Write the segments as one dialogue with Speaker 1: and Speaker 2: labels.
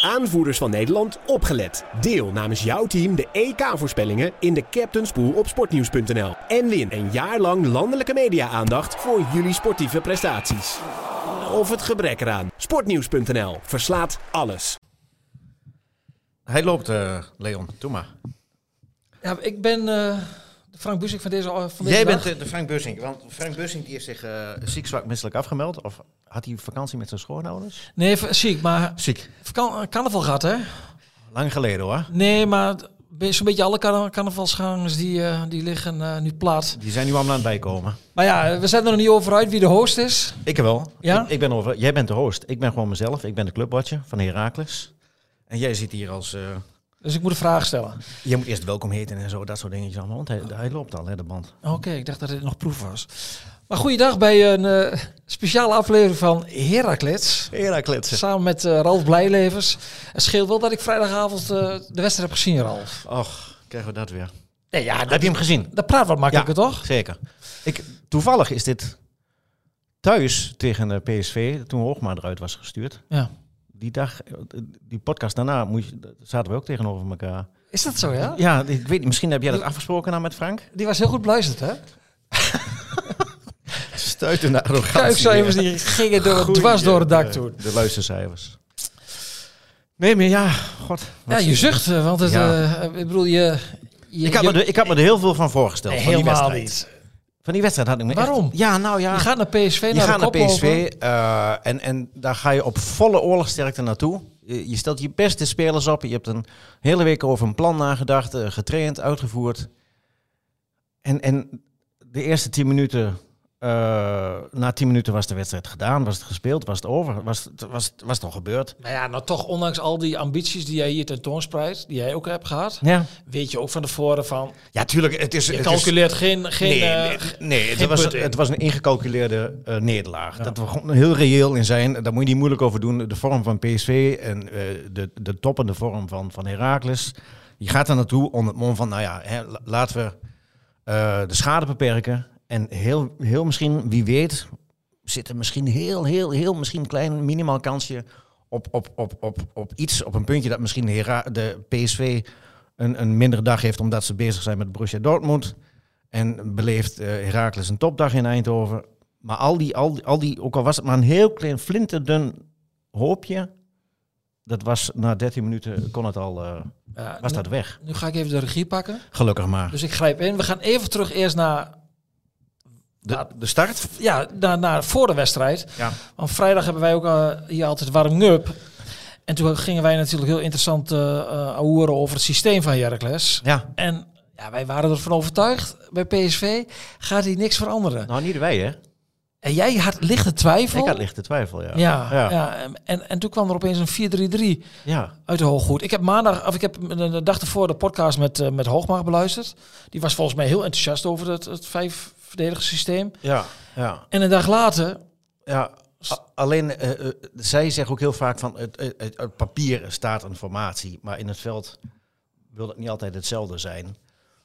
Speaker 1: aanvoerders van Nederland opgelet. Deel namens jouw team de EK-voorspellingen in de Captain's Pool op sportnieuws.nl. En win een jaar lang landelijke media-aandacht voor jullie sportieve prestaties. Of het gebrek eraan. Sportnieuws.nl verslaat alles.
Speaker 2: Hij loopt, eh, Leon. Doe maar.
Speaker 3: Ja, ik ben eh, de Frank Bussik van deze, eh, van deze
Speaker 2: Jij bent
Speaker 3: dag.
Speaker 2: de, de Frank Bussink. Want Frank Bussink die heeft zich eh, ziek, zwak, misselijk afgemeld. Of had hij vakantie met zijn schoonouders?
Speaker 3: Nee, v- ziek, maar
Speaker 2: Ziek.
Speaker 3: kan, carnaval gehad, hè?
Speaker 2: Lang geleden hoor.
Speaker 3: Nee, maar het- be- zo'n beetje alle carna- carnavalsgangers die, eh, die liggen eh, nu plat.
Speaker 2: Die zijn nu allemaal aan het bijkomen.
Speaker 3: Maar ja, eh, we zijn er nog niet over uit wie de host is.
Speaker 2: Ik wel.
Speaker 3: Ja?
Speaker 2: Ik, ik ben over. Jij bent de host. Ik ben gewoon mezelf. Ik ben de clubwatcher van Heracles. En jij zit hier als... eh,
Speaker 3: Dus ik moet een vraag stellen.
Speaker 2: je moet eerst welkom heten en zo. Dat soort dingetjes allemaal. Want hij, hij loopt al, hè, de band.
Speaker 3: Oké, ik dacht dat dit nog proef was. Maar goeiedag bij een eh, speciale aflevering van Heraklets.
Speaker 2: Heracles.
Speaker 3: Samen met eh, Ralf Blijlevens. Het scheelt wel dat ik vrijdagavond eh, de wedstrijd heb gezien, Ralf.
Speaker 2: Och, krijgen we dat weer.
Speaker 3: Nee, ja,
Speaker 2: Heb je hem gezien?
Speaker 3: dat praat wat makkelijker, toch?
Speaker 2: Zeker. Ik, toevallig is dit thuis tegen eh, PSV, toen Hoogma eruit was gestuurd.
Speaker 3: Ja.
Speaker 2: Die dag, eh, die podcast daarna, moet je, zaten we ook tegenover elkaar.
Speaker 3: Is dat zo, ja?
Speaker 2: Ja, ik weet, niet, misschien heb jij dat afgesproken dan met Frank?
Speaker 3: Die was heel goed beluisterd, hè?
Speaker 2: Stuitende
Speaker 3: Kuifcijfers die gingen door, dwars door het
Speaker 2: eh,
Speaker 3: dak toen.
Speaker 2: De luistercijfers. Nee, maar ja, god.
Speaker 3: Ja, je zucht, eh, want het,
Speaker 2: Ja.
Speaker 3: eh, ik bedoel, je... je
Speaker 2: Ik had,
Speaker 3: je-
Speaker 2: me er, ik had me er heel veel van voorgesteld.
Speaker 3: Nee,
Speaker 2: van die
Speaker 3: helemaal
Speaker 2: wedstrijd.
Speaker 3: niet.
Speaker 2: Van die wedstrijd had ik me echt-
Speaker 3: Waarom?
Speaker 2: Ja, nou ja.
Speaker 3: Je gaat naar PSV,
Speaker 2: Je
Speaker 3: naar
Speaker 2: gaat
Speaker 3: de
Speaker 2: naar
Speaker 3: koploper.
Speaker 2: PSV eh, en, en daar ga je op volle oorlogsterkte naartoe. Je je stelt je beste spelers op. Je hebt een hele week over een plan nagedacht, eh, getraind, uitgevoerd. En, en de eerste tien minuten, eh, na tien minuten was de wedstrijd gedaan, was het gespeeld, was het over, was, het- was, het- was het al gebeurd.
Speaker 3: Maar ja, nou toch, ondanks al die ambities die jij hier tentoonspreidt, die jij ook hebt gehad,
Speaker 2: Ja,
Speaker 3: weet je ook van tevoren van,
Speaker 2: ja tuurlijk. Het is,
Speaker 3: je
Speaker 2: het is-
Speaker 3: calculeert geen... geen
Speaker 2: nee,
Speaker 3: eh,
Speaker 2: nee, nee, het,
Speaker 3: geen
Speaker 2: was,
Speaker 3: punt in.
Speaker 2: het was een ingecalculeerde eh, nederlaag. Dat we gewoon heel reëel in zijn. Daar moet je niet moeilijk over doen. De vorm van PSV en eh, de, de toppende vorm van, van Heracles. Je gaat daar naartoe onder het mond van, nou ja, hè, la- laten we eh, de schade beperken. En heel, heel misschien, wie weet, zit er misschien heel, heel, heel misschien een klein minimaal kansje op, op, op, op, op iets, op een puntje dat misschien Hera, de PSV een, een mindere dag heeft omdat ze bezig zijn met Borussia Dortmund. En beleeft eh Herakles een topdag in Eindhoven. Maar al die, al, die, al die, ook al was het maar een heel klein flinterdun hoopje, dat was na 13 minuten kon het al, eh,
Speaker 3: ja,
Speaker 2: was
Speaker 3: nu-
Speaker 2: dat weg.
Speaker 3: Nu ga ik even de regie pakken.
Speaker 2: Gelukkig maar.
Speaker 3: Dus ik grijp in. We gaan even terug eerst naar,
Speaker 2: De, de start?
Speaker 3: ja, naar, naar voor de wedstrijd.
Speaker 2: Ja.
Speaker 3: Want vrijdag hebben wij ook eh, hier altijd warming-up. En toen gingen wij natuurlijk heel interessant eh eh, ahoeren over het systeem van Heracles.
Speaker 2: Ja.
Speaker 3: En ja, wij waren ervan overtuigd, bij PSV gaat hier niks veranderen.
Speaker 2: Nou, niet wij hè.
Speaker 3: En jij had lichte twijfel.
Speaker 2: Ik had lichte twijfel, ja.
Speaker 3: Oh. Ja, ja.
Speaker 2: ja.
Speaker 3: En, en toen kwam er opeens een 4-3-3
Speaker 2: Ja.
Speaker 3: uit de hooggoed. Ik heb maandag, of ik heb de de dag ervoor de podcast met, eh, met Hoogmaag beluisterd. Die was volgens mij heel enthousiast over het, het vijf systeem.
Speaker 2: Ja. ja.
Speaker 3: En een dag later,
Speaker 2: Ja, a- alleen eh, eh, zij zeggen ook heel vaak van het, het, het- op papier staat een formatie, maar in het veld wil het niet altijd hetzelfde zijn.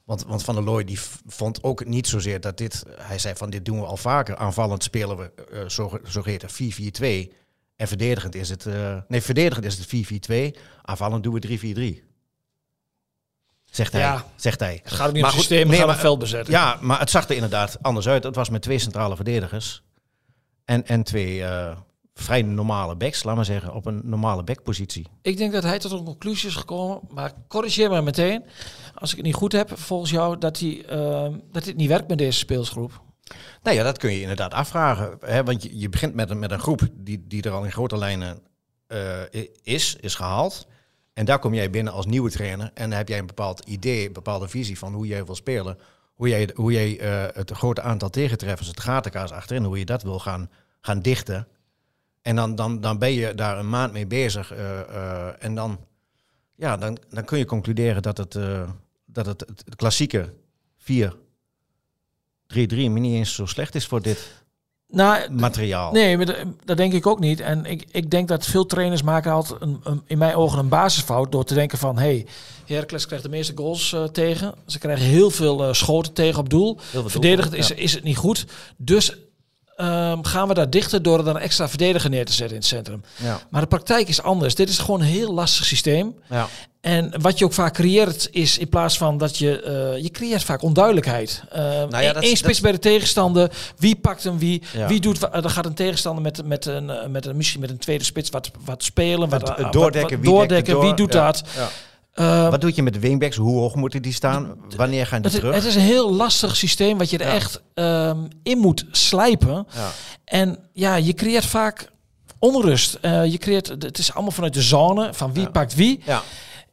Speaker 2: Want, want Van der Looy die v- vond ook niet zozeer dat dit, hij zei van dit doen we al vaker, aanvallend spelen we eh zo, zogeheten 4-4-2 en verdedigend is het, eh, nee verdedigend is het 4-4-2, aanvallend doen we 3-4-3. Zegt hij,
Speaker 3: Ja.
Speaker 2: zegt hij.
Speaker 3: het gaat ook niet
Speaker 2: Maar
Speaker 3: om
Speaker 2: goed,
Speaker 3: systeem, het
Speaker 2: nee,
Speaker 3: gaat om
Speaker 2: maar-
Speaker 3: veld bezetten.
Speaker 2: Ja, maar het zag er inderdaad anders uit. Het was met twee centrale verdedigers. En, en twee eh, vrij normale backs, laat maar zeggen, op een normale backpositie.
Speaker 3: Ik denk dat hij tot een conclusie is gekomen, maar corrigeer me meteen. Als ik het niet goed heb, volgens jou, dat, hij, ehm, dat dit niet werkt met deze speelsgroep.
Speaker 2: Nou ja, dat kun je inderdaad afvragen. Hè? Want je, je begint met een, met een groep die, die er al in grote lijnen eh, i- is, is gehaald. En daar kom jij binnen als nieuwe trainer. En dan heb jij een bepaald idee, een bepaalde visie van hoe jij wil spelen. Hoe jij, hoe jij eh, het grote aantal tegentreffers, het gatenkaas achterin, hoe je dat wil gaan, gaan dichten. En dan, dan, dan ben je daar een maand mee bezig. eh, eh, en dan, ja, dan, dan kun je concluderen dat het, eh, dat het, het, het klassieke 4 3-3 maar niet eens zo slecht is voor dit
Speaker 3: Nou,
Speaker 2: materiaal.
Speaker 3: Nee, maar d- dat denk ik ook niet. En ik, ik denk dat veel trainers maken altijd een, een- in mijn ogen een basisfout door te denken van... hé, hey, Heracles krijgt de meeste goals eh, tegen. Ze krijgen heel veel eh, schoten tegen op doel.
Speaker 2: veel
Speaker 3: Verdedigend is,
Speaker 2: doelpunten,
Speaker 3: is het niet goed. Dus eh, ehm, gaan we daar dichter door er dan een extra verdediger neer te zetten in het centrum.
Speaker 2: Ja.
Speaker 3: Maar de praktijk is anders. Dit is gewoon een heel lastig systeem.
Speaker 2: Ja.
Speaker 3: En wat je ook vaak creëert is in plaats van dat je... eh, je creëert vaak onduidelijkheid. Eén
Speaker 2: Nou ja, dat-
Speaker 3: Eén spits bij de tegenstander. Wie pakt hem wie?
Speaker 2: Ja.
Speaker 3: Wie doet... wa- eh, Dan gaat een tegenstander met, met, een, eh, met een, misschien met een tweede spits wat, wat spelen. Wat,
Speaker 2: Het- het
Speaker 3: eh, wat-
Speaker 2: doordekken,
Speaker 3: wat
Speaker 2: wie, dekt het
Speaker 3: doordekken,
Speaker 2: door?
Speaker 3: wie doet
Speaker 2: Ja,
Speaker 3: dat?
Speaker 2: ja.
Speaker 3: Ehm,
Speaker 2: Wat doe je met de wingbacks? Hoe hoog moeten die staan? Wanneer gaan die
Speaker 3: het,
Speaker 2: terug?
Speaker 3: het is een heel lastig systeem wat je er
Speaker 2: Ja.
Speaker 3: echt ehm, in moet slijpen.
Speaker 2: Ja.
Speaker 3: En ja, je creëert vaak onrust. Eh, je creëert, het is allemaal vanuit de zone, van wie
Speaker 2: Ja.
Speaker 3: pakt wie.
Speaker 2: Ja.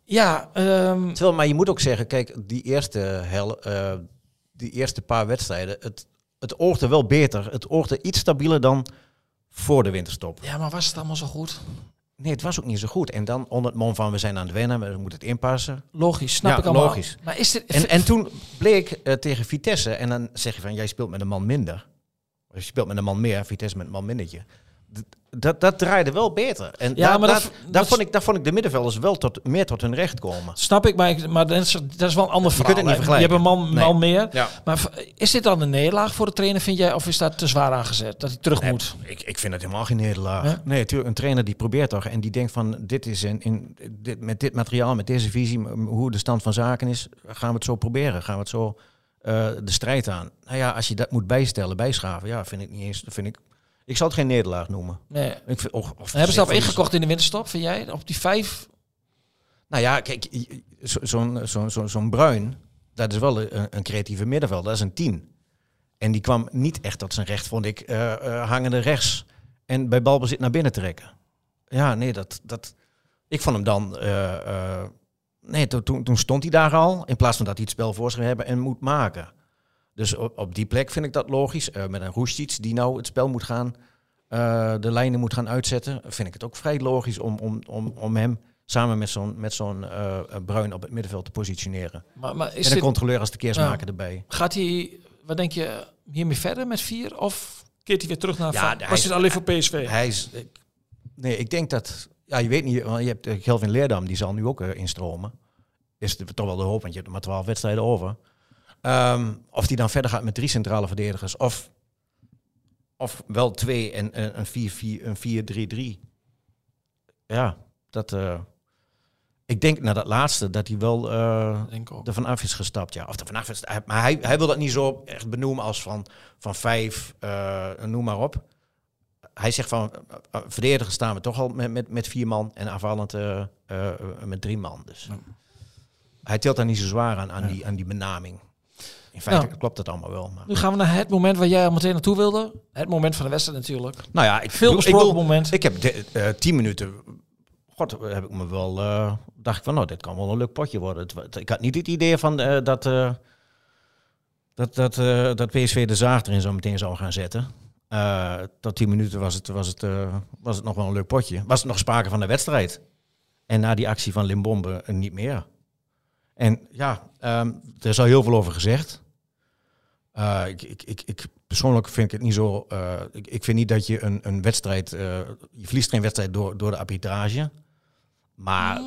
Speaker 3: Ja, ehm,
Speaker 2: Terwijl, maar je moet ook zeggen, kijk, die eerste, hel, eh, die eerste paar wedstrijden, het, het oogde wel beter. Het oogde iets stabieler dan voor de winterstop.
Speaker 3: ja, maar was het allemaal zo goed?
Speaker 2: Nee, het was ook niet zo goed. En dan onder het mom van, we zijn aan het wennen, we moeten het inpassen.
Speaker 3: Logisch, snap
Speaker 2: Ja,
Speaker 3: ik allemaal.
Speaker 2: logisch.
Speaker 3: Maar is dit...
Speaker 2: En, en toen bleek eh, tegen Vitesse, en dan zeg je van, jij speelt met een man minder. Of Je speelt met een man meer, Vitesse met een man mindertje. D- Dat, dat draaide wel beter. En
Speaker 3: Ja,
Speaker 2: daar,
Speaker 3: maar
Speaker 2: daar,
Speaker 3: dat-
Speaker 2: daar
Speaker 3: dat-
Speaker 2: vond ik, daar vond ik de middenvelders wel tot, meer tot hun recht komen.
Speaker 3: Snap ik, maar, ik- maar dat, is, dat is wel een ander
Speaker 2: kunt
Speaker 3: verhaal.
Speaker 2: het niet
Speaker 3: hè.
Speaker 2: vergelijken.
Speaker 3: Je hebt een man,
Speaker 2: Nee.
Speaker 3: man meer.
Speaker 2: Ja.
Speaker 3: Maar v- is dit dan een nederlaag voor de trainer, vind jij? Of is dat te zwaar aangezet, dat hij terug
Speaker 2: Nee,
Speaker 3: moet?
Speaker 2: Ik, ik vind het helemaal geen nederlaag.
Speaker 3: Hè?
Speaker 2: Nee, natuurlijk. Een trainer die probeert toch en die denkt van dit is een, in, dit, met dit materiaal, met deze visie, m- hoe de stand van zaken is, gaan we het zo proberen. Gaan we het zo eh, de strijd aan. Nou ja, als je dat moet bijstellen, bijschaven, ja, vind ik niet eens. Vind ik, ik zal het geen nederlaag noemen.
Speaker 3: Nee.
Speaker 2: Ik vind, och, of,
Speaker 3: En hebben ze daarop
Speaker 2: ik-
Speaker 3: ingekocht in de winterstop, vind jij? Op die vijf?
Speaker 2: Nou ja, kijk, i- zo- zo'n zo'n zo'n zo'n Bruin, dat is wel een, een creatieve middenveld. Dat is een tien. En die kwam niet echt tot zijn recht, vond ik, eh, eh, hangende rechts. En bij balbezit naar binnen trekken. Ja, nee, dat... dat ik vond hem dan... eh, eh, nee, to- toen, toen stond hij daar al. In plaats van dat hij het spel voor zich hebben en moet maken. Dus op, op die plek vind ik dat logisch. Eh, met een Roestic die nou het spel moet gaan... eh, de lijnen moet gaan uitzetten. Vind ik het ook vrij logisch om, om, om, om hem samen met zo'n met zo'n eh, Bruin op het middenveld te positioneren.
Speaker 3: Maar, maar
Speaker 2: en
Speaker 3: is
Speaker 2: een
Speaker 3: dit,
Speaker 2: controleur als de keersmaker erbij.
Speaker 3: gaat hij, wat denk je, hiermee verder met vier? Of keert hij weer terug naar...
Speaker 2: Ja,
Speaker 3: Ja,
Speaker 2: hij-
Speaker 3: was dit alleen voor PSV?
Speaker 2: Hij is... ik- nee, ik denk dat... Ja, je weet niet, want je hebt eh, Kelvin Leerdam, die zal nu ook eh, instromen. Is de, toch wel de hoop, want je hebt er maar twaalf wedstrijden over. Ehm, of die dan verder gaat met drie centrale verdedigers. Of, of wel twee en eh, een 4-4, een 4-3-3. Ja, dat... eh, ik denk na dat laatste dat hij wel eh,
Speaker 3: Ik denk ook.
Speaker 2: er vanaf is gestapt. Ja. Of er vanaf is, hij- maar hij, hij wil dat niet zo echt benoemen als van, van vijf, eh, noem maar op. Hij zegt van, eh, eh, verdedigen staan we toch al met, met, met vier man en aanvallend eh, eh, eh, met drie man. Dus. Hij tilt daar niet zo zwaar aan, aan, die, aan die benaming. In feite
Speaker 3: Ja.
Speaker 2: klopt dat allemaal wel. Maar.
Speaker 3: Nu gaan we naar het moment waar jij al meteen naartoe wilde. Het moment van de wedstrijd natuurlijk.
Speaker 2: Nou ja, ik
Speaker 3: Veel
Speaker 2: bedoel- ik
Speaker 3: besproken
Speaker 2: bedoel,
Speaker 3: moment.
Speaker 2: Ik heb de, eh, tien minuten. God, heb ik me wel. eh, dacht ik van, nou, dit kan wel een leuk potje worden. Het wa- het- ik had niet het idee van eh, dat. eh, dat, dat, eh, dat PSV de zaag erin zo meteen zou gaan zetten. Eh, tot tien minuten was het, was, het, eh, was het nog wel een leuk potje. Was het nog sprake van de wedstrijd? En na die actie van Limbombe eh, niet meer. En ja, ehm, er is al heel veel over gezegd. Eh, ik, ik, ik, ik, persoonlijk vind ik het niet zo. eh, ik, ik vind niet dat je een, een wedstrijd. eh, je verliest geen wedstrijd door, door de arbitrage. Maar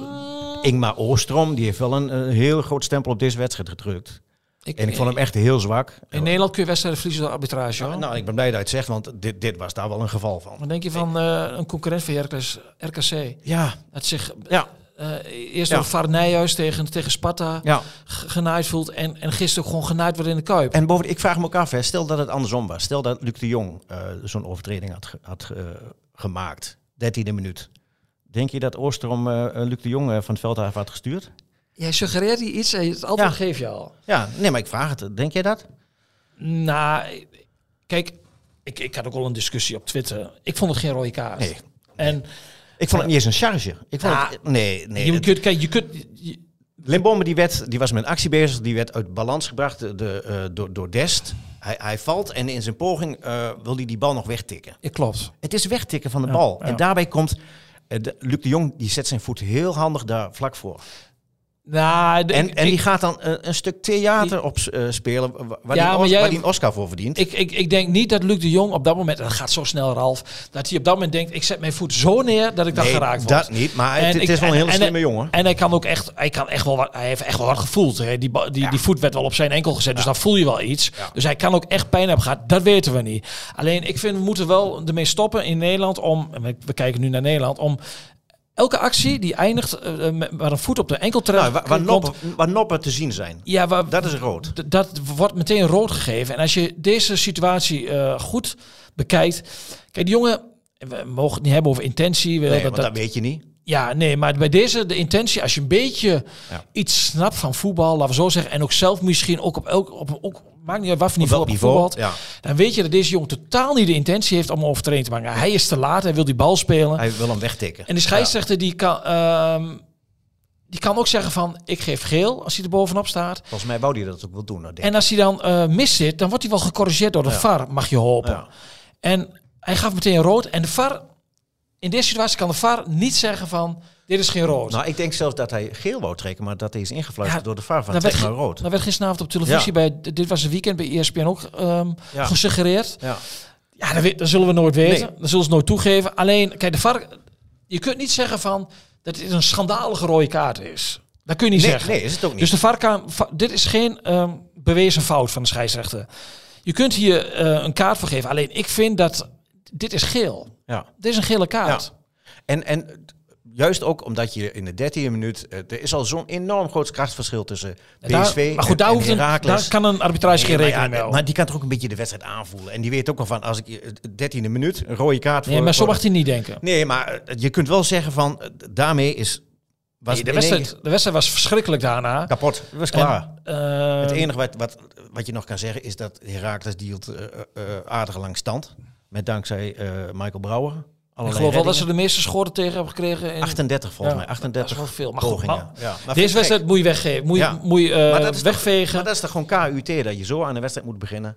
Speaker 2: Ingmar Oostrom die heeft wel een, eh, heel groot stempel op deze wedstrijd gedrukt.
Speaker 3: Ik-
Speaker 2: En ik vond hem echt heel zwak.
Speaker 3: In Nederland kun je wedstrijden verliezen door arbitrage. hoor.
Speaker 2: Nou, nou, ik ben blij dat je het zegt, want dit, dit was daar wel een geval van.
Speaker 3: Wat denk je van eh, een concurrent van Hercules, RKC?
Speaker 2: Ja,
Speaker 3: Dat zich
Speaker 2: ja,
Speaker 3: eh, eerst
Speaker 2: Ja.
Speaker 3: door Var Nijhuis tegen, tegen Sparta
Speaker 2: ja.
Speaker 3: ge- genaaid voelt. En, en gisteren ook gewoon genaaid wordt in de Kuip.
Speaker 2: En bovendien, ik vraag me ook af, hè, stel dat het andersom was. Stel dat Luc de Jong eh, zo'n overtreding had, ge- had eh, gemaakt. 13e minuut. Denk je dat Oostrom eh, eh, Luc de Jong eh, van het veld af had gestuurd?
Speaker 3: Jij suggereert hier iets en het antwoord
Speaker 2: Ja.
Speaker 3: geef je al.
Speaker 2: Ja, nee, maar ik vraag het. Denk jij dat?
Speaker 3: Nou, kijk, ik, ik had ook al een discussie op Twitter. Ik vond het geen rode kaart.
Speaker 2: Nee.
Speaker 3: En
Speaker 2: Ik vond het niet eens een charge. Ik vond
Speaker 3: Ja.
Speaker 2: het, nee, nee.
Speaker 3: je
Speaker 2: het-
Speaker 3: kunt, kijk, je kunt... je-
Speaker 2: Limbombe die, werd, die was met een actie bezig, die werd uit balans gebracht de, de, eh, door, door Dest. Hij, hij valt en in zijn poging eh, wil hij die bal nog wegtikken.
Speaker 3: ja, klopt.
Speaker 2: Het is wegtikken van de bal.
Speaker 3: ja.
Speaker 2: En daarbij komt eh, de- Luc de Jong, die zet zijn voet heel handig daar vlak voor.
Speaker 3: Nou, de-
Speaker 2: En,
Speaker 3: ik-
Speaker 2: en die
Speaker 3: ik-
Speaker 2: gaat dan eh, een stuk theater op eh, spelen wa- waar,
Speaker 3: Ja,
Speaker 2: die
Speaker 3: maar
Speaker 2: Os-
Speaker 3: jij-
Speaker 2: waar die een Oscar voor verdient.
Speaker 3: Ik, ik, ik denk niet dat Luc de Jong op dat moment, en dat gaat zo snel Ralf, dat hij op dat moment denkt, ik zet mijn voet zo neer dat ik dan
Speaker 2: Nee,
Speaker 3: geraakt word.
Speaker 2: dat niet, maar het,
Speaker 3: En
Speaker 2: het
Speaker 3: ik-
Speaker 2: is wel een
Speaker 3: en-
Speaker 2: hele
Speaker 3: en-
Speaker 2: slimme jongen.
Speaker 3: En hij kan ook echt, hij kan echt wel, wat- hij heeft echt wel hard gevoeld. Hè. Die, ba- die, die voet werd wel op zijn enkel gezet, dus dan voel je wel iets. Dus hij kan ook echt pijn hebben gehad, dat weten we niet. Alleen ik vind, we moeten wel ermee stoppen in Nederland om, en we- we kijken nu naar Nederland, om elke actie die eindigt eh, eh, met- waar een voet op de enkel terecht
Speaker 2: Nou, waar, waar,
Speaker 3: komt-
Speaker 2: noppen, waar noppen te zien zijn,
Speaker 3: ja, waar,
Speaker 2: dat is rood.
Speaker 3: D- dat wordt meteen rood gegeven. En als je deze situatie eh, goed bekijkt. Kijk, die jongen. We mogen het niet hebben over intentie. we-
Speaker 2: Nee,
Speaker 3: dat-
Speaker 2: want dat,
Speaker 3: dat-
Speaker 2: weet je niet.
Speaker 3: ja, nee, maar bij deze, de intentie, als je een beetje
Speaker 2: Ja.
Speaker 3: iets snapt van voetbal, laten we zo zeggen. En ook zelf misschien ook op elk. Op, ook, maakt niet uit wat voor
Speaker 2: Op
Speaker 3: niveau
Speaker 2: welk
Speaker 3: op
Speaker 2: niveau?
Speaker 3: voetbal.
Speaker 2: Ja.
Speaker 3: Dan weet je dat deze jongen totaal niet de intentie heeft om een overtreding te maken. Hij is te laat, hij wil die bal spelen.
Speaker 2: Hij wil hem wegtikken.
Speaker 3: En de scheidsrechter die kan. ehm, die kan ook zeggen van, ik geef geel als hij er bovenop staat.
Speaker 2: Volgens mij wou hij dat ook wel doen. Dat denk ik.
Speaker 3: En als hij dan eh mis zit, dan wordt hij wel gecorrigeerd door de
Speaker 2: Ja.
Speaker 3: VAR, mag je hopen.
Speaker 2: Ja.
Speaker 3: En hij gaf meteen rood. En de VAR, in deze situatie kan de VAR niet zeggen van, dit is geen rood.
Speaker 2: Nou, ik denk zelfs dat hij geel wou trekken, maar dat hij is ingefluisterd
Speaker 3: Ja,
Speaker 2: door de VAR van
Speaker 3: werd,
Speaker 2: trek maar
Speaker 3: ge-
Speaker 2: rood.
Speaker 3: daar werd gisteravond op
Speaker 2: Ja.
Speaker 3: televisie bij, dit was een weekend bij ESPN ook ehm,
Speaker 2: Ja.
Speaker 3: gesuggereerd.
Speaker 2: Ja.
Speaker 3: Ja, dat, we- dat zullen we nooit weten.
Speaker 2: Nee.
Speaker 3: Dat zullen ze nooit toegeven. Alleen, kijk, de VAR, je kunt niet zeggen van, dat dit een schandalige rode kaart is. Dat kun je niet
Speaker 2: Nee,
Speaker 3: zeggen.
Speaker 2: nee, is het ook niet.
Speaker 3: Dus de VAR kan, va- dit is geen ehm, bewezen fout van de scheidsrechter. Je kunt hier eh, een kaart voor geven. Alleen ik vind dat dit is geel.
Speaker 2: ja.
Speaker 3: Dit is een gele kaart.
Speaker 2: Ja. En, en juist ook omdat je in de dertiende minuut... eh, er is al zo'n enorm groot krachtsverschil tussen
Speaker 3: En daar-
Speaker 2: PSV
Speaker 3: maar goed, daar,
Speaker 2: en,
Speaker 3: hoeft
Speaker 2: en
Speaker 3: een,
Speaker 2: Heracles.
Speaker 3: daar kan een arbitrage
Speaker 2: Nee,
Speaker 3: geen rekening
Speaker 2: maar,
Speaker 3: mee
Speaker 2: ja,
Speaker 3: houden.
Speaker 2: maar die kan toch ook een beetje de wedstrijd aanvoelen. En die weet ook al van, als ik eh, 13e minuut een rode kaart voor...
Speaker 3: nee, maar zo
Speaker 2: voor-
Speaker 3: mag hij niet denken.
Speaker 2: Nee, maar eh, je kunt wel zeggen van, eh, daarmee is... Was
Speaker 3: Nee, de,
Speaker 2: het in één
Speaker 3: wedstrijd, de wedstrijd was verschrikkelijk daarna.
Speaker 2: keer kapot. Het was klaar.
Speaker 3: En, eh,
Speaker 2: het enige wat, wat, wat je nog kan zeggen is dat Herakles dealt eh, eh, eh, aardig lang stand. Met dankzij eh, Michael Brouwer.
Speaker 3: ik
Speaker 2: Allerlei
Speaker 3: geloof wel dat ze
Speaker 2: reddingen.
Speaker 3: de meeste schoren tegen hebben gekregen. In,
Speaker 2: 38 volgens
Speaker 3: Ja,
Speaker 2: mij,
Speaker 3: dat is
Speaker 2: 38
Speaker 3: wel veel. Maar goed,
Speaker 2: pogingen.
Speaker 3: maar-
Speaker 2: Ja, maar vind ik
Speaker 3: deze wedstrijd
Speaker 2: gek.
Speaker 3: moet je weggeven. Moet je,
Speaker 2: Ja.
Speaker 3: moet je eh,
Speaker 2: Maar dat is toch-
Speaker 3: wegvegen.
Speaker 2: Maar dat is toch gewoon KUT, dat je zo aan de wedstrijd moet beginnen.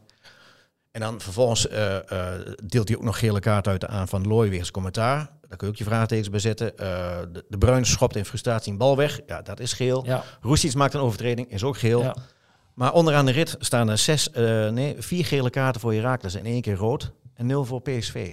Speaker 2: En dan vervolgens eh, eh, deelt hij ook nog gele kaart uit aan Van Looy wegens commentaar. Daar kun je ook je vraagtekens bij zetten. Eh, de, de Bruin schopt in frustratie een bal weg. Ja, dat is geel.
Speaker 3: ja,
Speaker 2: Roestic maakt een overtreding, is ook geel.
Speaker 3: ja.
Speaker 2: Maar onderaan de rit staan er zes, eh, nee, vier gele kaarten voor Herakles en één keer rood en nul voor PSV.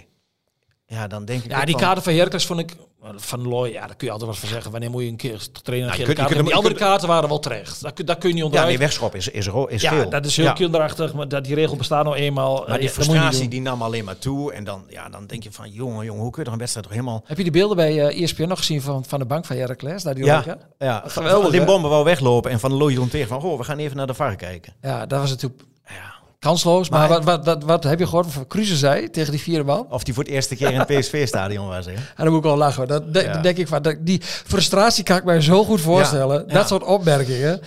Speaker 2: Ja, dan denk ik.
Speaker 3: Ja,
Speaker 2: ook
Speaker 3: die
Speaker 2: van-
Speaker 3: kaarten van Heracles vond ik... Van Looy, ja, daar kun je altijd wat van zeggen. Wanneer moet je een keer trainen
Speaker 2: Nou, je
Speaker 3: nou,
Speaker 2: kunt- je kunt
Speaker 3: kaart?
Speaker 2: hem-
Speaker 3: Die
Speaker 2: je
Speaker 3: andere
Speaker 2: kunt-
Speaker 3: kaarten waren wel terecht. Daar kun, daar kun je niet
Speaker 2: Ja,
Speaker 3: onderuit.
Speaker 2: nee, wegschop is, is, ro- is
Speaker 3: Ja,
Speaker 2: geel.
Speaker 3: dat is heel
Speaker 2: Ja.
Speaker 3: kinderachtig, maar dat die regel bestaat nou eenmaal. Eh,
Speaker 2: Maar die
Speaker 3: ja, dat moet je niet
Speaker 2: frustratie
Speaker 3: doen.
Speaker 2: die nam alleen maar toe. En dan, ja, dan denk je van, jongen, jongen, hoe kun je toch een wedstrijd toch helemaal...
Speaker 3: Heb je die beelden bij eh ESPN nog gezien van, van de bank van Heracles? Daar die
Speaker 2: Ja,
Speaker 3: roken?
Speaker 2: ja.
Speaker 3: Geweldig, hè?
Speaker 2: Limbombe wou weglopen en Van Looy tegen van, oh, we gaan even naar de VAR kijken.
Speaker 3: ja, dat was natuurlijk
Speaker 2: Ja.
Speaker 3: kansloos. Maar,
Speaker 2: Maar-
Speaker 3: wat, wat, wat, wat heb je gehoord van Cruze zei tegen die vierde man?
Speaker 2: Of die voor het eerste keer in het PSV-stadion was, hè?
Speaker 3: En dan moet ik wel lachen. hoor. Dat, de-
Speaker 2: Ja.
Speaker 3: denk ik van, dat, die frustratie kan ik mij zo goed voorstellen.
Speaker 2: Ja, ja.
Speaker 3: Dat soort opmerkingen.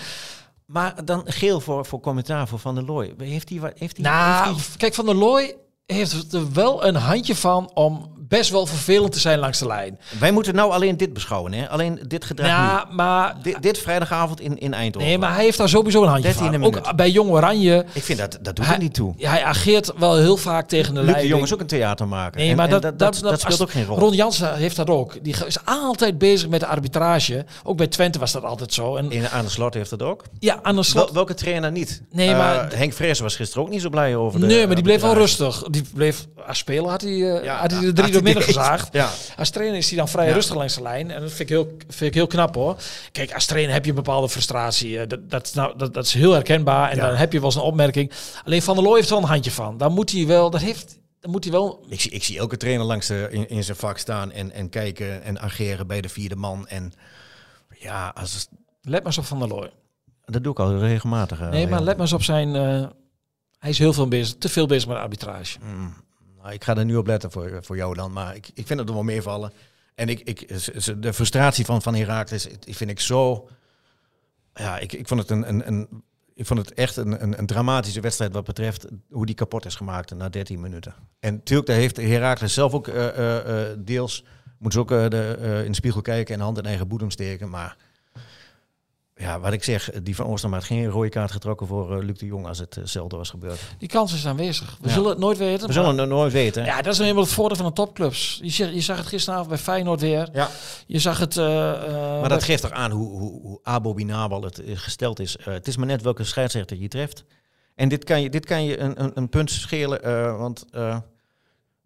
Speaker 2: Maar dan geel voor, voor commentaar voor Van der Looy. Heeft hij wat... Heeft hij,
Speaker 3: Nou,
Speaker 2: heeft
Speaker 3: kijk, Van der Looy heeft er wel een handje van om best wel vervelend te zijn langs de lijn.
Speaker 2: hij- Wij moeten nou alleen dit beschouwen, hè? Alleen dit gedrag nu.
Speaker 3: Ja, maar,
Speaker 2: Dit, dit vrijdagavond in, in Eindhoven.
Speaker 3: Nou. nee, maar hij heeft daar sowieso een handje
Speaker 2: 13e
Speaker 3: van.
Speaker 2: minuut.
Speaker 3: Ook bij Jong Oranje.
Speaker 2: Ik vind dat, dat doet
Speaker 3: Hij-
Speaker 2: er niet toe.
Speaker 3: Ja, hij ageert wel heel vaak tegen de
Speaker 2: Luc de
Speaker 3: leiding.
Speaker 2: Jong is ook een theatermaker.
Speaker 3: Nee,
Speaker 2: En-
Speaker 3: maar
Speaker 2: en
Speaker 3: dat,
Speaker 2: dat, dat, dat speelt
Speaker 3: als-
Speaker 2: ook geen rol.
Speaker 3: Ron Jansen heeft dat ook. Die ge- is altijd bezig met de arbitrage. Ook bij Twente was dat altijd zo. En
Speaker 2: In, aan de slot heeft dat ook.
Speaker 3: ja, aan de
Speaker 2: Wel-
Speaker 3: slot.
Speaker 2: welke trainer niet?
Speaker 3: Nee,
Speaker 2: Eh,
Speaker 3: maar-
Speaker 2: Henk Vrees was gisteren ook niet zo blij over de...
Speaker 3: nee, maar die bleef wel
Speaker 2: arbitrage.
Speaker 3: rustig. Die bleef als speler had hij, eh,
Speaker 2: Ja,
Speaker 3: had hij
Speaker 2: ja,
Speaker 3: er drie
Speaker 2: had
Speaker 3: door midden
Speaker 2: hij-
Speaker 3: gezaagd.
Speaker 2: Ja.
Speaker 3: Als trainer is hij dan vrij
Speaker 2: Ja.
Speaker 3: rustig langs de lijn. En dat vind ik, heel, vind ik heel knap hoor. Kijk, als trainer heb je een bepaalde frustratie. Eh, Dat, dat, is nou, dat, dat is heel herkenbaar. En
Speaker 2: Ja.
Speaker 3: dan heb je wel eens een opmerking. Alleen Van der Looy heeft er wel een handje van. Daar moet hij wel, dat heeft, daar moet hij wel
Speaker 2: Ik zie, ik zie elke trainer langs de, in, in zijn vak staan en, en kijken en ageren bij de vierde man. En ja, als,
Speaker 3: Let maar eens op Van der Looy.
Speaker 2: dat doe ik al regelmatig. eh,
Speaker 3: Nee, maar
Speaker 2: Leon.
Speaker 3: let maar eens op zijn. eh, hij is heel veel bezig, te veel bezig met arbitrage.
Speaker 2: Nou, ik ga er nu op letten voor, eh, voor jou dan, maar ik, ik vind het er wel meevallen. En ik, ik, ze- ze- de frustratie van, van Herakles ik- ik vind ik zo... Ja, ik, ik vond het, een, een, een, ik vond het echt een, een, een dramatische wedstrijd wat betreft hoe die kapot is gemaakt na 13 minuten. En natuurlijk, daar heeft Herakles zelf ook eh, eh, eh, deels... Moeten ze ook eh, de, eh, in de spiegel kijken en hand in eigen boedem steken, maar... ja, wat ik zeg, die van Oostermaat had geen rode kaart getrokken voor eh, Luc de Jong als het eh, hetzelfde was gebeurd.
Speaker 3: Die kans is aanwezig. We
Speaker 2: Ja.
Speaker 3: zullen het nooit weten.
Speaker 2: We zullen
Speaker 3: maar-
Speaker 2: het nooit weten.
Speaker 3: ja, dat is nou helemaal het voordeel van de topclubs. Je, zag- je zag het gisteravond bij Feyenoord weer.
Speaker 2: Ja.
Speaker 3: Je zag het... eh, eh,
Speaker 2: Maar
Speaker 3: bij-
Speaker 2: dat geeft toch aan hoe, hoe, hoe abominabel het eh, gesteld is. Eh, het is maar net welke scheidsrechter je treft. En dit kan je, dit kan je een, een, een punt schelen, eh, want eh,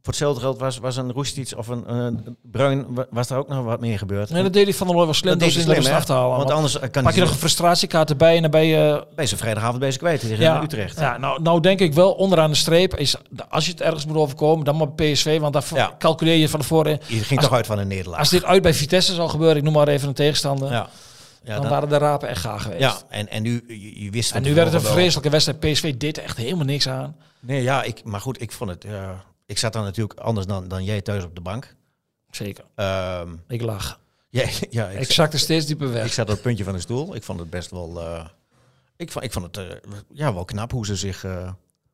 Speaker 2: voor hetzelfde geld was, was een Roestic of een, een Bruin, wa- was daar ook nog wat mee gebeurd.
Speaker 3: Nee, dat deed hij van der Looy wel slim.
Speaker 2: Dat
Speaker 3: Dat
Speaker 2: deed
Speaker 3: is
Speaker 2: hij
Speaker 3: slim,
Speaker 2: slim, hè?
Speaker 3: af te halen.
Speaker 2: want
Speaker 3: Want
Speaker 2: anders eh, kan
Speaker 3: pak je
Speaker 2: hij
Speaker 3: nog een frustratiekaart erbij en dan ben je... eh,
Speaker 2: bij zijn vrijdagavond bij ze kwijt tegen Utrecht.
Speaker 3: ja nou, nou denk ik wel, onderaan de streep is... Als je het ergens moet overkomen, dan maar PSV. Want daar
Speaker 2: Ja.
Speaker 3: calculeer je van tevoren... in.
Speaker 2: Je ging
Speaker 3: Als-
Speaker 2: toch uit van een nederlaag.
Speaker 3: Als dit uit bij Vitesse zou gebeuren, ik noem maar even een tegenstander...
Speaker 2: ja. Ja,
Speaker 3: dan,
Speaker 2: dan-
Speaker 3: waren de rapen echt gaar geweest.
Speaker 2: ja, en, en nu, je, je wist van
Speaker 3: En nu werd het een
Speaker 2: tevoren wel-
Speaker 3: vreselijke wedstrijd. PSV deed er echt helemaal niks aan.
Speaker 2: Nee, ja, ik, maar goed, ik vond het... eh, ik zat daar natuurlijk anders dan, dan jij thuis op de bank.
Speaker 3: Zeker.
Speaker 2: Ehm,
Speaker 3: Ik lag.
Speaker 2: ja, ja, ik,
Speaker 3: Ik zakte steeds dieper
Speaker 2: Ik
Speaker 3: weg.
Speaker 2: zat op het puntje van de stoel. Ik vond het best wel. eh, ik, vond, ik vond het eh, ja, wel knap hoe ze zich eh,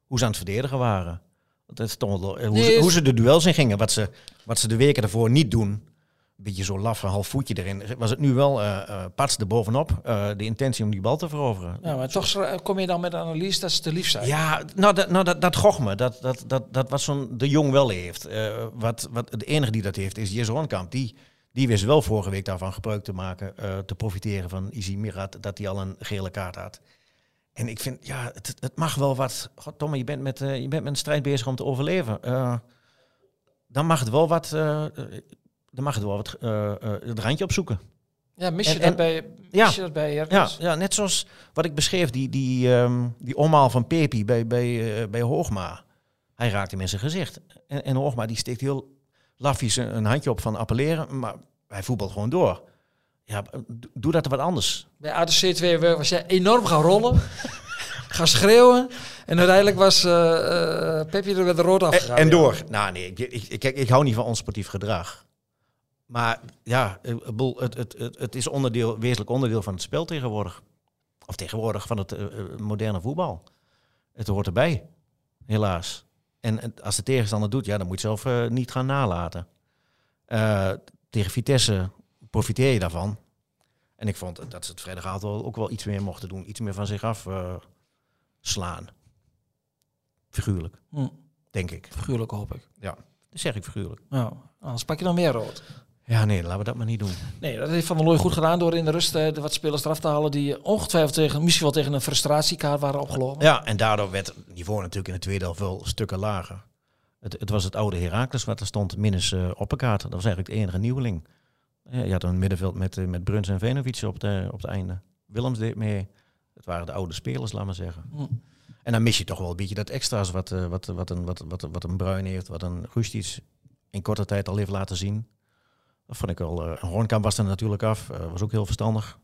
Speaker 2: hoe ze aan het verdedigen waren. Want het stond wel, eh, hoe,
Speaker 3: Nee,
Speaker 2: ze,
Speaker 3: is-
Speaker 2: hoe ze de duels in gingen, wat ze, wat ze de weken daarvoor niet doen. Een beetje zo laf, een half voetje erin. Was het nu wel eh eh Pats erbovenop, eh de intentie om die bal te veroveren.
Speaker 3: Ja, maar toch schra- kom je dan met een analyse dat ze te lief zijn.
Speaker 2: Ja, nou, dat, nou, dat, dat gocht me. Dat, dat, dat, dat wat zo'n de Jong wel heeft. Eh, wat, wat, de enige die dat heeft is Jesse Hornkamp. Die, die wist wel vorige week daarvan gebruik te maken. eh, te profiteren van Izzy Mirat. Dat hij al een gele kaart had. En ik vind, ja, het, het mag wel wat. God, Tomme, je bent, met, eh, je bent met een strijd bezig om te overleven. Eh, dan mag het wel wat. eh, eh, dan mag het wel wat. eh, eh, het randje opzoeken.
Speaker 3: Ja, mis
Speaker 2: En-
Speaker 3: je,
Speaker 2: en-
Speaker 3: dat, bij, mis
Speaker 2: ja.
Speaker 3: je dus dat bij
Speaker 2: Ja,
Speaker 3: Heracles?
Speaker 2: ja, net zoals wat ik beschreef, die, die, ehm, die omhaal van Pepi bij, bij, eh, bij Hoogma. Hij raakt hem in zijn gezicht. En, en Hoogma die steekt heel lafjes een, een handje op van appelleren, maar hij voetbalt gewoon door. Ja, do- doe dat wat anders.
Speaker 3: Bij ADC 2 was jij enorm gaan rollen. gaan schreeuwen. En uiteindelijk was eh eh, Pepje er met de rood
Speaker 2: En,
Speaker 3: afgegaan.
Speaker 2: en door. Nou nee, ik, ik, ik, kijk, ik hou niet van onsportief gedrag. Maar ja, eh, ik bedoel, het, het, het, het is onderdeel, wezenlijk onderdeel van het spel tegenwoordig. Of tegenwoordig van het eh, eh, moderne voetbal. Het hoort erbij, helaas. En het- als de tegenstander doet, ja, dan moet je zelf eh, niet gaan nalaten. Eh, tegen Vitesse profiteer je daarvan. En ik vond dat ze het vrijdagavond wel- ook wel iets meer mochten doen. Iets meer van zich af eh, slaan. Figuurlijk,
Speaker 3: Hm,
Speaker 2: denk ik.
Speaker 3: figuurlijk hoop ik.
Speaker 2: Dat zeg ik figuurlijk.
Speaker 3: Nou, anders pak je dan meer rood.
Speaker 2: Ja, nee, laten we dat maar niet doen.
Speaker 3: Nee, dat heeft Van der Looy goed gedaan door in de rust eh, de wat spelers eraf te halen die ongetwijfeld tegen, misschien wel tegen een frustratiekaart waren opgelopen.
Speaker 2: Ja, en daardoor werd het niveau natuurlijk in de tweede helft wel stukken lager. Het, het was het oude Herakles wat er stond, minus eh Opperkaart. Dat was eigenlijk de enige nieuweling. Ja, je had een middenveld met, eh, met Bruns en Venovic op, de, op het einde. Willems deed mee. Het waren de oude spelers, laat maar zeggen.
Speaker 3: Hm.
Speaker 2: En dan mis je toch wel een beetje dat extra's wat, eh, wat, wat, een, wat, wat, wat een Bruin heeft, wat een Rustic in korte tijd al heeft laten zien. Dat vond ik wel. eh, Hoornkamp was er natuurlijk af, eh, was ook heel verstandig.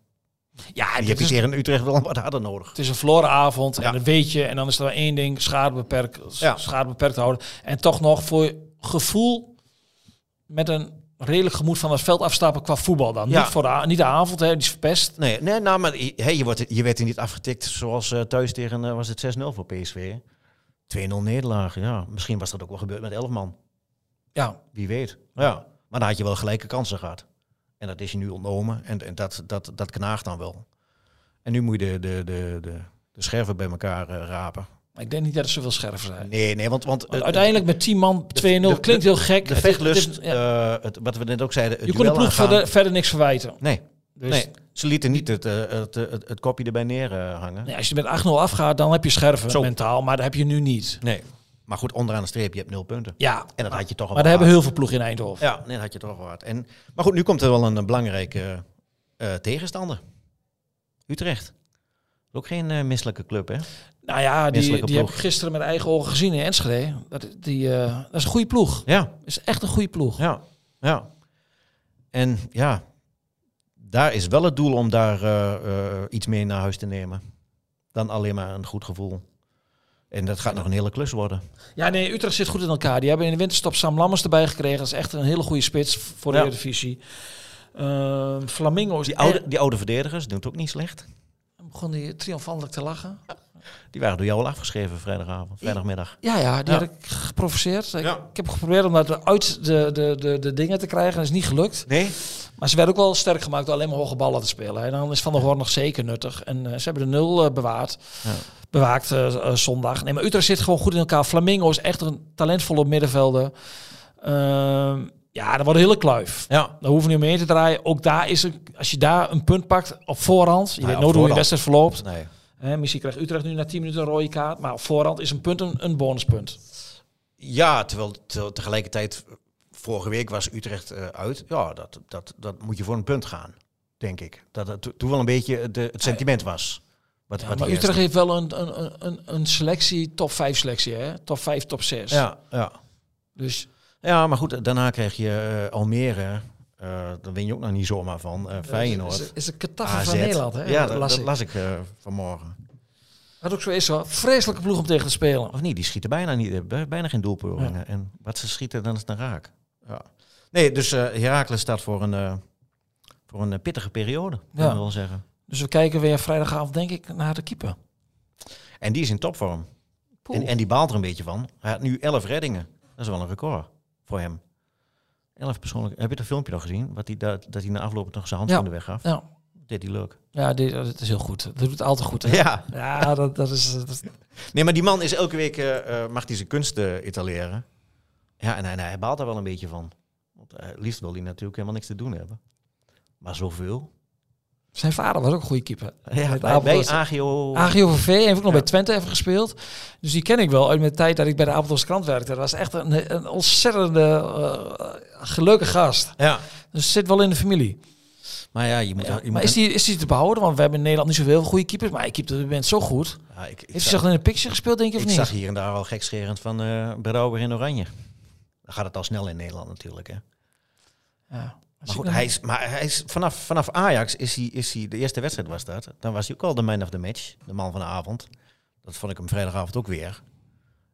Speaker 3: Ja,
Speaker 2: En
Speaker 3: dit
Speaker 2: die heb je
Speaker 3: is-
Speaker 2: tegen Utrecht wel wat harder nodig.
Speaker 3: Het is een verloren avond
Speaker 2: Ja.
Speaker 3: en dat weet je. En dan is er maar één ding, schade beperkt,
Speaker 2: Ja.
Speaker 3: schade beperkt houden. En toch nog voor je gevoel met een redelijk gemoed van het veld afstappen qua voetbal dan.
Speaker 2: Ja.
Speaker 3: Niet, voor de, a- niet de avond, hè, die is verpest.
Speaker 2: Nee, nee nou, maar je- hey, je, wordt, je werd er niet afgetikt zoals eh, thuis tegen eh, was het 6-0 voor PSV. 2-0 nederlaag, ja. Misschien was dat ook wel gebeurd met 11 man.
Speaker 3: Ja,
Speaker 2: Wie weet. Ja. Maar dan had je wel gelijke kansen gehad. En dat is je nu ontnomen. En, en dat, dat, dat knaagt dan wel. En nu moet je de, de, de, de, de scherven bij elkaar eh, rapen.
Speaker 3: maar ik denk niet dat het zoveel scherper zijn.
Speaker 2: Nee, nee, want... want,
Speaker 3: Want
Speaker 2: eh,
Speaker 3: uiteindelijk met 10 man 2-0
Speaker 2: de-
Speaker 3: klinkt heel gek.
Speaker 2: De
Speaker 3: Het is-
Speaker 2: vechtlust,
Speaker 3: het is- ja.
Speaker 2: eh, het, wat we net ook zeiden, het
Speaker 3: Je kon de
Speaker 2: duel
Speaker 3: ploeg
Speaker 2: aangaan.
Speaker 3: verder, verder niks verwijten.
Speaker 2: Nee,
Speaker 3: Dus
Speaker 2: nee, ze lieten niet het, eh, het, eh, het, het kopje erbij neer eh, hangen.
Speaker 3: nee, als je met 8-0 afgaat, dan heb je scherven
Speaker 2: Zo.
Speaker 3: mentaal. Maar dat heb je nu niet.
Speaker 2: Nee. Maar goed, onderaan de streep, je hebt nul punten.
Speaker 3: Ja,
Speaker 2: En dat had je toch al
Speaker 3: maar
Speaker 2: wel
Speaker 3: daar hebben
Speaker 2: gehad.
Speaker 3: heel veel ploegen in Eindhoven.
Speaker 2: Ja, nee, dat had je toch wel gehad. En, maar goed, nu komt er wel een, eh, belangrijke eh, eh, tegenstander. Utrecht. Ook geen eh, misselijke club, hè?
Speaker 3: Nou ja, die,
Speaker 2: Menselijke
Speaker 3: die heb ik
Speaker 2: ploeg.
Speaker 3: gisteren met eigen ogen gezien in Enschede. Dat, die, eh, dat is een goede ploeg.
Speaker 2: Ja,
Speaker 3: Dat is echt een goede ploeg.
Speaker 2: ja, ja. En ja, daar is wel het doel om daar eh, eh, iets mee naar huis te nemen. Dan alleen maar een goed gevoel. En dat gaat nog een hele klus worden.
Speaker 3: Ja, nee, Utrecht zit goed in elkaar. Die hebben in de winterstop Sam Lammers erbij gekregen. Dat is echt een hele goede spits voor de
Speaker 2: Ja.
Speaker 3: Eredivisie. Ehm, Flamingo is
Speaker 2: Dus Die oude, die oude verdedigers doen het ook niet slecht.
Speaker 3: eh, begon die triomfantelijk te lachen.
Speaker 2: Die waren door jou al afgeschreven vrijdagavond, vrijdagmiddag.
Speaker 3: Ja, ja, die
Speaker 2: Ja.
Speaker 3: had ik geprovoceerd. Ik,
Speaker 2: Ja.
Speaker 3: ik heb geprobeerd om dat uit de, de, de, de dingen te krijgen. Dat is niet gelukt.
Speaker 2: Nee?
Speaker 3: Maar ze werd ook wel sterk gemaakt door alleen maar hoge ballen te spelen. En dan is Van der Hoorn nog zeker nuttig. En eh, ze hebben de nul eh, bewaard.
Speaker 2: Ja.
Speaker 3: Bewaakt eh, eh, zondag. Nee, maar Utrecht zit gewoon goed in elkaar. Flamingo is echt een talentvolle middenvelder. Ehm, ja, dat wordt een hele kluif.
Speaker 2: Ja.
Speaker 3: Daar hoeven we niet meer te draaien. Ook daar is een, als je daar een punt pakt op voorhand. Je
Speaker 2: ja,
Speaker 3: weet
Speaker 2: op
Speaker 3: nooit hoe je
Speaker 2: voorhand.
Speaker 3: wedstrijd verloopt.
Speaker 2: Nee.
Speaker 3: Hè, misschien krijgt Utrecht nu na 10 minuten een rode kaart. Maar op voorhand is een punt een, een bonuspunt.
Speaker 2: Ja, terwijl, terwijl tegelijkertijd vorige week was Utrecht eh, uit. Ja, dat, dat, dat moet je voor een punt gaan, denk ik. Dat het to- toen wel een beetje eh, de, het sentiment was. Wat,
Speaker 3: Eh, Ja,
Speaker 2: wat
Speaker 3: maar
Speaker 2: eerst-
Speaker 3: Utrecht heeft wel een, een, een- een, een selectie, top 5 selectie, hè? Top 5, top 6.
Speaker 2: Ja, ja.
Speaker 3: Dus
Speaker 2: ja, maar goed, daarna kreeg je eh, Almere. Eh, daar win je ook nog niet zomaar van. eh Feyenoord.
Speaker 3: is, is, is een kataffe
Speaker 2: AZ.
Speaker 3: van Nederland, hè?
Speaker 2: Ja,
Speaker 3: dat
Speaker 2: dat
Speaker 3: las
Speaker 2: dat
Speaker 3: ik.
Speaker 2: las ik eh, vanmorgen.
Speaker 3: Wat ook zo is, hoor. Vreselijke ploeg om tegen te spelen.
Speaker 2: Of niet, die schieten bijna, niet, eh, bij- bijna geen doelpogingen.
Speaker 3: Ja.
Speaker 2: En wat ze schieten, dan is het een raak. Ja. Nee, dus eh Heracles staat voor een, eh, voor een eh, pittige periode, kan
Speaker 3: Ja.
Speaker 2: ik wel zeggen.
Speaker 3: Dus we kijken weer vrijdagavond, denk ik, naar de keeper.
Speaker 2: En die is in topvorm.
Speaker 3: Poeh.
Speaker 2: En, en die baalt er een beetje van. Hij had nu 11 reddingen. Dat is wel een record voor hem. 11 persoonlijk. Heb je dat filmpje nog gezien? Wat hij, dat, dat hij na afloop nog zijn hand
Speaker 3: Ja.
Speaker 2: van de weg gaf.
Speaker 3: Ja,
Speaker 2: Deed hij leuk.
Speaker 3: ja dit, dat is heel goed. Dat doet het altijd goed, hè?
Speaker 2: Ja.
Speaker 3: Ja, dat, dat is... dat is-
Speaker 2: Nee, maar die man is elke week, eh, eh, mag hij zijn kunst eh, etaleren. Ja, en hij, en hij baalt daar wel een beetje van. Want eh, het liefst wil hij natuurlijk helemaal niks te doen hebben. Maar zoveel.
Speaker 3: Zijn vader was ook een goede keeper.
Speaker 2: Ja,
Speaker 3: Met
Speaker 2: bij, bij
Speaker 3: Apeldoorn.
Speaker 2: AGO.
Speaker 3: AGOVV heeft ook nog
Speaker 2: Ja.
Speaker 3: bij Twente even gespeeld. Dus die ken ik wel uit mijn tijd dat ik bij de Apeldoornse krant werkte. Dat was echt een, een ontzettende eh, gelukkige gast.
Speaker 2: Ja.
Speaker 3: Dus het zit wel in de familie.
Speaker 2: Maar ja, je moet... je moet
Speaker 3: maar is die, is die te behouden? Want we hebben in Nederland niet zoveel goede keepers. Maar hij keept op dit moment zo goed.
Speaker 2: Ja, ik, ik
Speaker 3: Heeft hij
Speaker 2: zag-
Speaker 3: zich in een picture gespeeld, denk je, of
Speaker 2: Ik
Speaker 3: niet?
Speaker 2: zag hier en daar al gekscherend van eh Brouwer in Oranje. Dan gaat het al snel in Nederland natuurlijk. Hè.
Speaker 3: Ja.
Speaker 2: Maar, goed, hij is, maar hij is, vanaf, vanaf Ajax is hij, is hij, de eerste wedstrijd was dat. Dan was hij ook al de man of the match, de man van de avond. Dat vond ik hem vrijdagavond ook weer.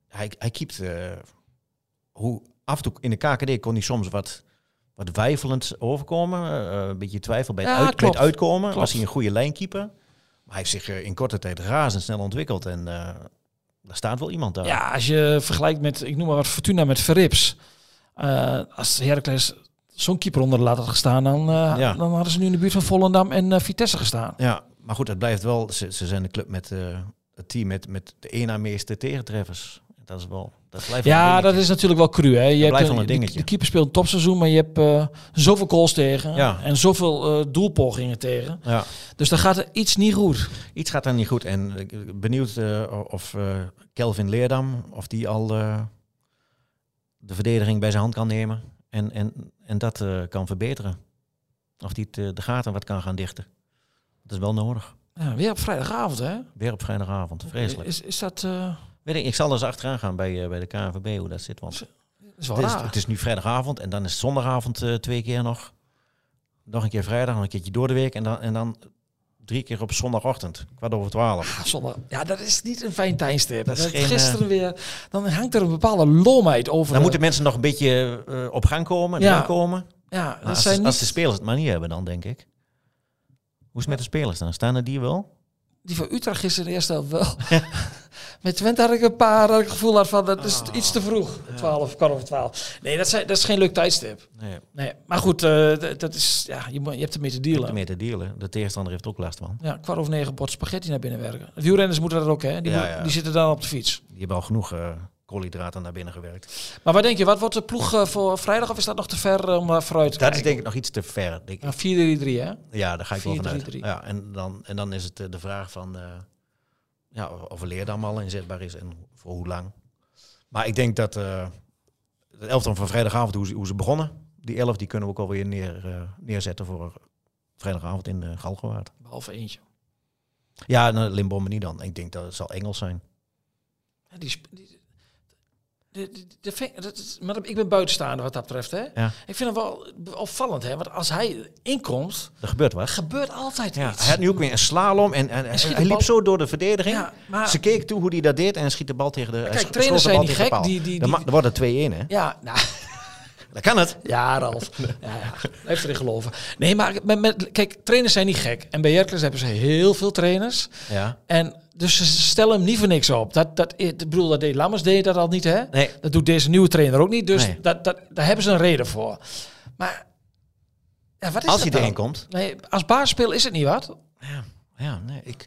Speaker 2: Hij, hij keept, eh, hoe af en toe in de KKD kon hij soms wat, wat weifelend overkomen. eh, een beetje twijfel bij het,
Speaker 3: Ja,
Speaker 2: uit- bij
Speaker 3: klopt.
Speaker 2: het uitkomen.
Speaker 3: Klopt.
Speaker 2: Was hij een goede lijnkeeper. Maar hij heeft zich eh, in korte tijd razendsnel ontwikkeld. En eh, daar staat wel iemand daar.
Speaker 3: Ja, als je vergelijkt met, ik noem maar wat, Fortuna met Verrips. Eh, als Heracles zo'n keeper onder de lat had gestaan, dan, eh,
Speaker 2: Ja.
Speaker 3: dan hadden ze nu in de buurt van Volendam en eh, Vitesse gestaan.
Speaker 2: Ja, maar goed, het blijft wel. Ze, ze zijn de club met eh, het team met, met de één na meeste tegentreffers. Dat is wel. Dat blijft wel
Speaker 3: Ja,
Speaker 2: een
Speaker 3: dat
Speaker 2: dingetje.
Speaker 3: is natuurlijk wel cru. Hè. Je hebt
Speaker 2: blijft wel
Speaker 3: een-
Speaker 2: een
Speaker 3: de-
Speaker 2: dingetje.
Speaker 3: De, keeper speelt een topseizoen, maar je hebt eh, zoveel goals tegen
Speaker 2: Ja.
Speaker 3: en zoveel eh, doelpogingen tegen.
Speaker 2: Ja,
Speaker 3: Dus dan gaat er iets niet goed.
Speaker 2: iets gaat daar niet goed. En ik ben benieuwd eh, of eh, Kelvin Leerdam, of die al eh, de verdediging bij zijn hand kan nemen. En, en, en dat eh, kan verbeteren. Of die het, eh, de gaten wat kan gaan dichten. Dat is wel nodig.
Speaker 3: Ja, weer op vrijdagavond, hè?
Speaker 2: Weer op vrijdagavond, vreselijk.
Speaker 3: Is, is dat... eh,
Speaker 2: Weet ik, ik zal eens achteraan gaan bij, eh, bij de KNVB hoe dat zit. Want
Speaker 3: is wel
Speaker 2: Het is,
Speaker 3: raar.
Speaker 2: het is nu vrijdagavond en dan is het zondagavond eh, twee keer nog. Nog een keer vrijdag, nog een keertje door de week. En dan, en dan drie keer op zondagochtend, kwart over twaalf.
Speaker 3: Ah, zondag. Ja, dat is niet een fijn tijdstip.
Speaker 2: Dat is
Speaker 3: Dat
Speaker 2: geen, eh,
Speaker 3: Gisteren weer, dan hangt er een bepaalde lomheid over.
Speaker 2: Dan
Speaker 3: de-
Speaker 2: moeten mensen nog een beetje eh, op gang komen en
Speaker 3: Ja.
Speaker 2: aankomen.
Speaker 3: ja,
Speaker 2: Maar
Speaker 3: dat
Speaker 2: Ah, als,
Speaker 3: zijn
Speaker 2: de- als de
Speaker 3: niet,
Speaker 2: spelers het maar niet hebben dan, denk ik. Hoe is het met de spelers dan? Staan er die wel?
Speaker 3: die van Utrecht gisteren in de eerste helft wel. Met Twente had ik een paar dat ik het gevoel had van dat
Speaker 2: Ah.
Speaker 3: is iets te vroeg. 12, kwart over 12. Nee, dat, zijn, dat is geen leuk tijdstip.
Speaker 2: Nee,
Speaker 3: Nee, maar goed, eh, d- dat is, ja, je, moet- je hebt ermee te dealen.
Speaker 2: meer te dealen. De tegenstander heeft er ook last van.
Speaker 3: Ja, kwart over negen bord spaghetti naar binnen werken. De wielrenners moeten dat ook, hè? Die,
Speaker 2: Ja,
Speaker 3: moet-
Speaker 2: ja.
Speaker 3: die zitten dan op de fiets.
Speaker 2: Die hebben al genoeg eh, koolhydraten naar binnen gewerkt.
Speaker 3: Maar wat denk je, wat wordt de ploeg eh, voor vrijdag of is dat nog te ver eh, om daar vooruit te
Speaker 2: Dat is
Speaker 3: kijken?
Speaker 2: denk ik nog iets te ver. Denk ik.
Speaker 3: Ja, 4-3-3, hè?
Speaker 2: Ja, daar ga ik wel
Speaker 3: 4-3-3.
Speaker 2: vanuit. Ja, en, dan, en dan is het eh, de vraag van eh, ja, of een leerdam al inzetbaar is en voor hoe lang. Maar ik denk dat eh het elftal van vrijdagavond, hoe ze, hoe ze begonnen, die elf, die kunnen we ook alweer neer, eh, neerzetten voor vrijdagavond in eh Galgenwaard.
Speaker 3: Behalve eentje.
Speaker 2: Ja, en Limbomme niet dan. Ik denk dat het zal Engels zijn.
Speaker 3: Ja, die, sp- die, de- de- de ving- dat is- maar ik ben buitenstaander wat dat betreft. Hè?
Speaker 2: Ja.
Speaker 3: Ik vind het wel opvallend, hè? want als hij inkomt,
Speaker 2: Er gebeurt wat.
Speaker 3: gebeurt altijd
Speaker 2: Ja,
Speaker 3: iets.
Speaker 2: hij had nu ook weer een slalom en, en, en
Speaker 3: schiet de
Speaker 2: hij liep
Speaker 3: bal-
Speaker 2: zo door de verdediging.
Speaker 3: Ja, maar-
Speaker 2: Ze keek toe hoe hij dat deed en schiet de bal tegen de. hij
Speaker 3: Kijk,
Speaker 2: scho-
Speaker 3: trainers
Speaker 2: sloot de
Speaker 3: zijn
Speaker 2: bal
Speaker 3: niet
Speaker 2: tegen de
Speaker 3: gek,
Speaker 2: paal.
Speaker 3: die- die-
Speaker 2: Dan, ma- dan wordt het 2-1, hè?
Speaker 3: ja, nou,
Speaker 2: Dan kan het.
Speaker 3: ja, Ralf. Ja, ja. Hij heeft erin geloven. Nee, maar met, met- kijk, trainers zijn niet gek. En bij Hercules hebben ze heel veel trainers.
Speaker 2: Ja.
Speaker 3: En dus ze stellen hem niet voor niks op. Dat, dat, ik bedoel, dat deed Lammers deed dat al niet, hè?
Speaker 2: Nee.
Speaker 3: Dat doet deze nieuwe trainer ook niet. Dus
Speaker 2: Nee.
Speaker 3: dat, dat, daar hebben ze een reden voor. Maar Ja, wat is
Speaker 2: Als hij
Speaker 3: dat
Speaker 2: erin
Speaker 3: dan?
Speaker 2: komt.
Speaker 3: Nee, als baarspeel is het niet wat.
Speaker 2: Ja, ja nee, ik,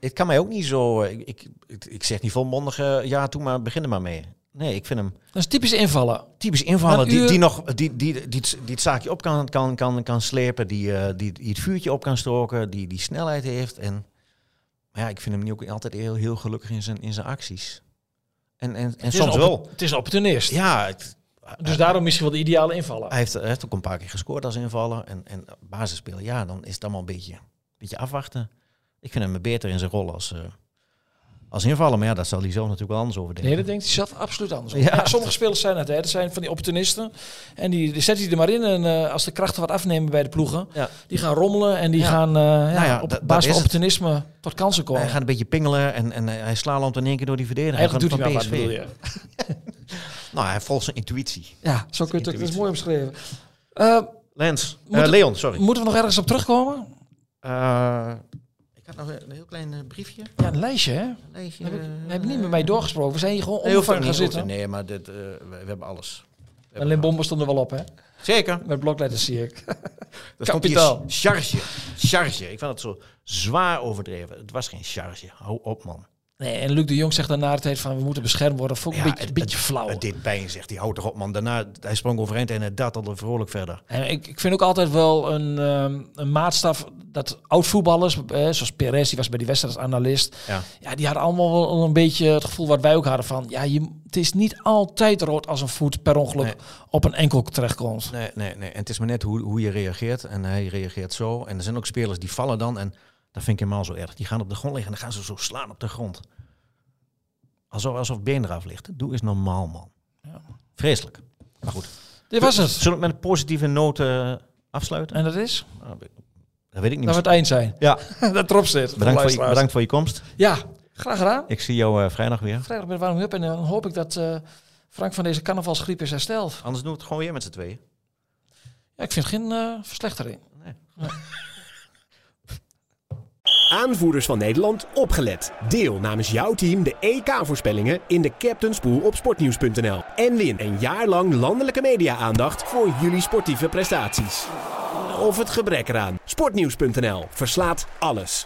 Speaker 2: het kan mij ook niet zo... eh, Ik, ik, ik, ik zeg niet volmondig eh, ja toe, maar begin er maar mee. Nee, ik vind hem
Speaker 3: Dat is typisch invallen.
Speaker 2: typisch invaller
Speaker 3: Een
Speaker 2: die,
Speaker 3: uur-
Speaker 2: die, nog, die, die, die, het- die het zaakje op kan, kan, kan, kan slepen, die, eh, die, die het vuurtje op kan stoken, die, die snelheid heeft. En, maar ja, ik vind hem niet ook altijd heel, heel gelukkig in zijn, in zijn acties. En, en, en
Speaker 3: Het is een
Speaker 2: soms
Speaker 3: oppo-
Speaker 2: wel.
Speaker 3: Het is een opportunist.
Speaker 2: Ja, het-
Speaker 3: Dus daarom misschien wel de ideale invallen.
Speaker 2: hij heeft, hij heeft ook een paar keer gescoord als invaller. En, en basisspeler, ja, dan is het allemaal een beetje, een beetje afwachten. Ik vind hem beter in zijn rol als, eh, als invaller. Maar ja, dat zal hij zelf natuurlijk wel anders over denken.
Speaker 3: Nee, dat denkt hij zelf absoluut anders.
Speaker 2: Ja.
Speaker 3: Ja. sommige spelers zijn het. Hè. Dat zijn van die opportunisten. En die, die zetten die er maar in. En eh, als de krachten wat afnemen bij de ploegen.
Speaker 2: Ja.
Speaker 3: Die gaan rommelen en die
Speaker 2: Ja.
Speaker 3: gaan eh, ja,
Speaker 2: ja, dat-
Speaker 3: op
Speaker 2: dat
Speaker 3: basis van
Speaker 2: is het.
Speaker 3: opportunisme tot kansen komen.
Speaker 2: Hij gaat een beetje pingelen en, en eh, hij slaalt in één keer door die verdediger
Speaker 3: Eigenlijk doet
Speaker 2: van,
Speaker 3: hij nou
Speaker 2: van
Speaker 3: wat,
Speaker 2: PSV.
Speaker 3: bedoel je.
Speaker 2: Nou, hij volgt zijn intuïtie.
Speaker 3: Ja, zo kun je het ook. Dat
Speaker 2: intuïtie.
Speaker 3: is mooi omschreven. Eh,
Speaker 2: Lens.
Speaker 3: Moet-
Speaker 2: Eh, Leon, sorry.
Speaker 3: moeten we nog ergens op terugkomen?
Speaker 2: Eh, ik had nog een heel klein eh, briefje.
Speaker 3: Ja, een lijstje, hè?
Speaker 2: Leesje,
Speaker 3: Heb ik,
Speaker 2: eh,
Speaker 3: heb ik niet met mij doorgesproken. We zijn hier gewoon
Speaker 2: Nee, hoeft ook
Speaker 3: ongeveer gaan
Speaker 2: niet, hoeft
Speaker 3: zitten.
Speaker 2: ook- Nee, maar dit, eh, we, we hebben alles. We
Speaker 3: En
Speaker 2: hebben
Speaker 3: Limbombe stond er wel op, hè?
Speaker 2: alles. Zeker.
Speaker 3: Met blokletters zie ik.
Speaker 2: Dat
Speaker 3: Kapitaal.
Speaker 2: charge. Charge. Ik vond het zo zwaar overdreven. Het was geen charge. Hou op, man.
Speaker 3: Nee, en Luc de Jong zegt daarna het tijd van we moeten beschermd worden. Vond ik een
Speaker 2: Ja,
Speaker 3: beetje,
Speaker 2: het-
Speaker 3: beetje flauw.
Speaker 2: Het deed pijn, zegt hij. Houd toch op, man. Daarna, hij sprong overeind en hij dartelde vrolijk verder.
Speaker 3: En ik, ik vind ook altijd wel een, ehm, een maatstaf dat oud-voetballers, eh, zoals Perez, die was bij die wedstrijd als analist,
Speaker 2: Ja.
Speaker 3: ja, die hadden allemaal wel een beetje het gevoel wat wij ook hadden van, ja, je, het is niet altijd rood als een voet per ongeluk
Speaker 2: Nee.
Speaker 3: op een enkel terechtkomt.
Speaker 2: Nee, nee, nee. En het is maar net hoe, hoe je reageert. En hij reageert zo. En er zijn ook spelers die vallen dan. En dat vind ik helemaal zo erg. Die gaan op de grond liggen en dan gaan ze zo slaan op de grond. Alsof, alsof been eraf ligt. Doe eens normaal, man.
Speaker 3: Ja.
Speaker 2: Vreselijk. Maar goed.
Speaker 3: Dit was het.
Speaker 2: Zullen we het met een positieve noot eh, afsluiten?
Speaker 3: En dat is
Speaker 2: Nou, dat weet ik- dat weet ik niet.
Speaker 3: dat we het eind zijn.
Speaker 2: Ja,
Speaker 3: dat erop
Speaker 2: bedankt
Speaker 3: zit.
Speaker 2: voor, je,
Speaker 3: luisteraars.
Speaker 2: bedankt voor je komst.
Speaker 3: Ja, graag gedaan.
Speaker 2: Ik zie jou eh, vrijdag weer.
Speaker 3: Vrijdag bij de warming up en dan hoop ik dat eh, Frank van deze carnavalsgriep is hersteld.
Speaker 2: Anders doen we het gewoon weer met z'n tweeën.
Speaker 3: Ja, ik vind geen eh, verslechtering.
Speaker 1: Aanvoerders van Nederland, opgelet. Deel namens jouw team de EK-voorspellingen in de Captain's Pool op sportnieuws.nl. En win een jaar lang landelijke media-aandacht voor jullie sportieve prestaties. Of het gebrek eraan. Sportnieuws.nl verslaat alles.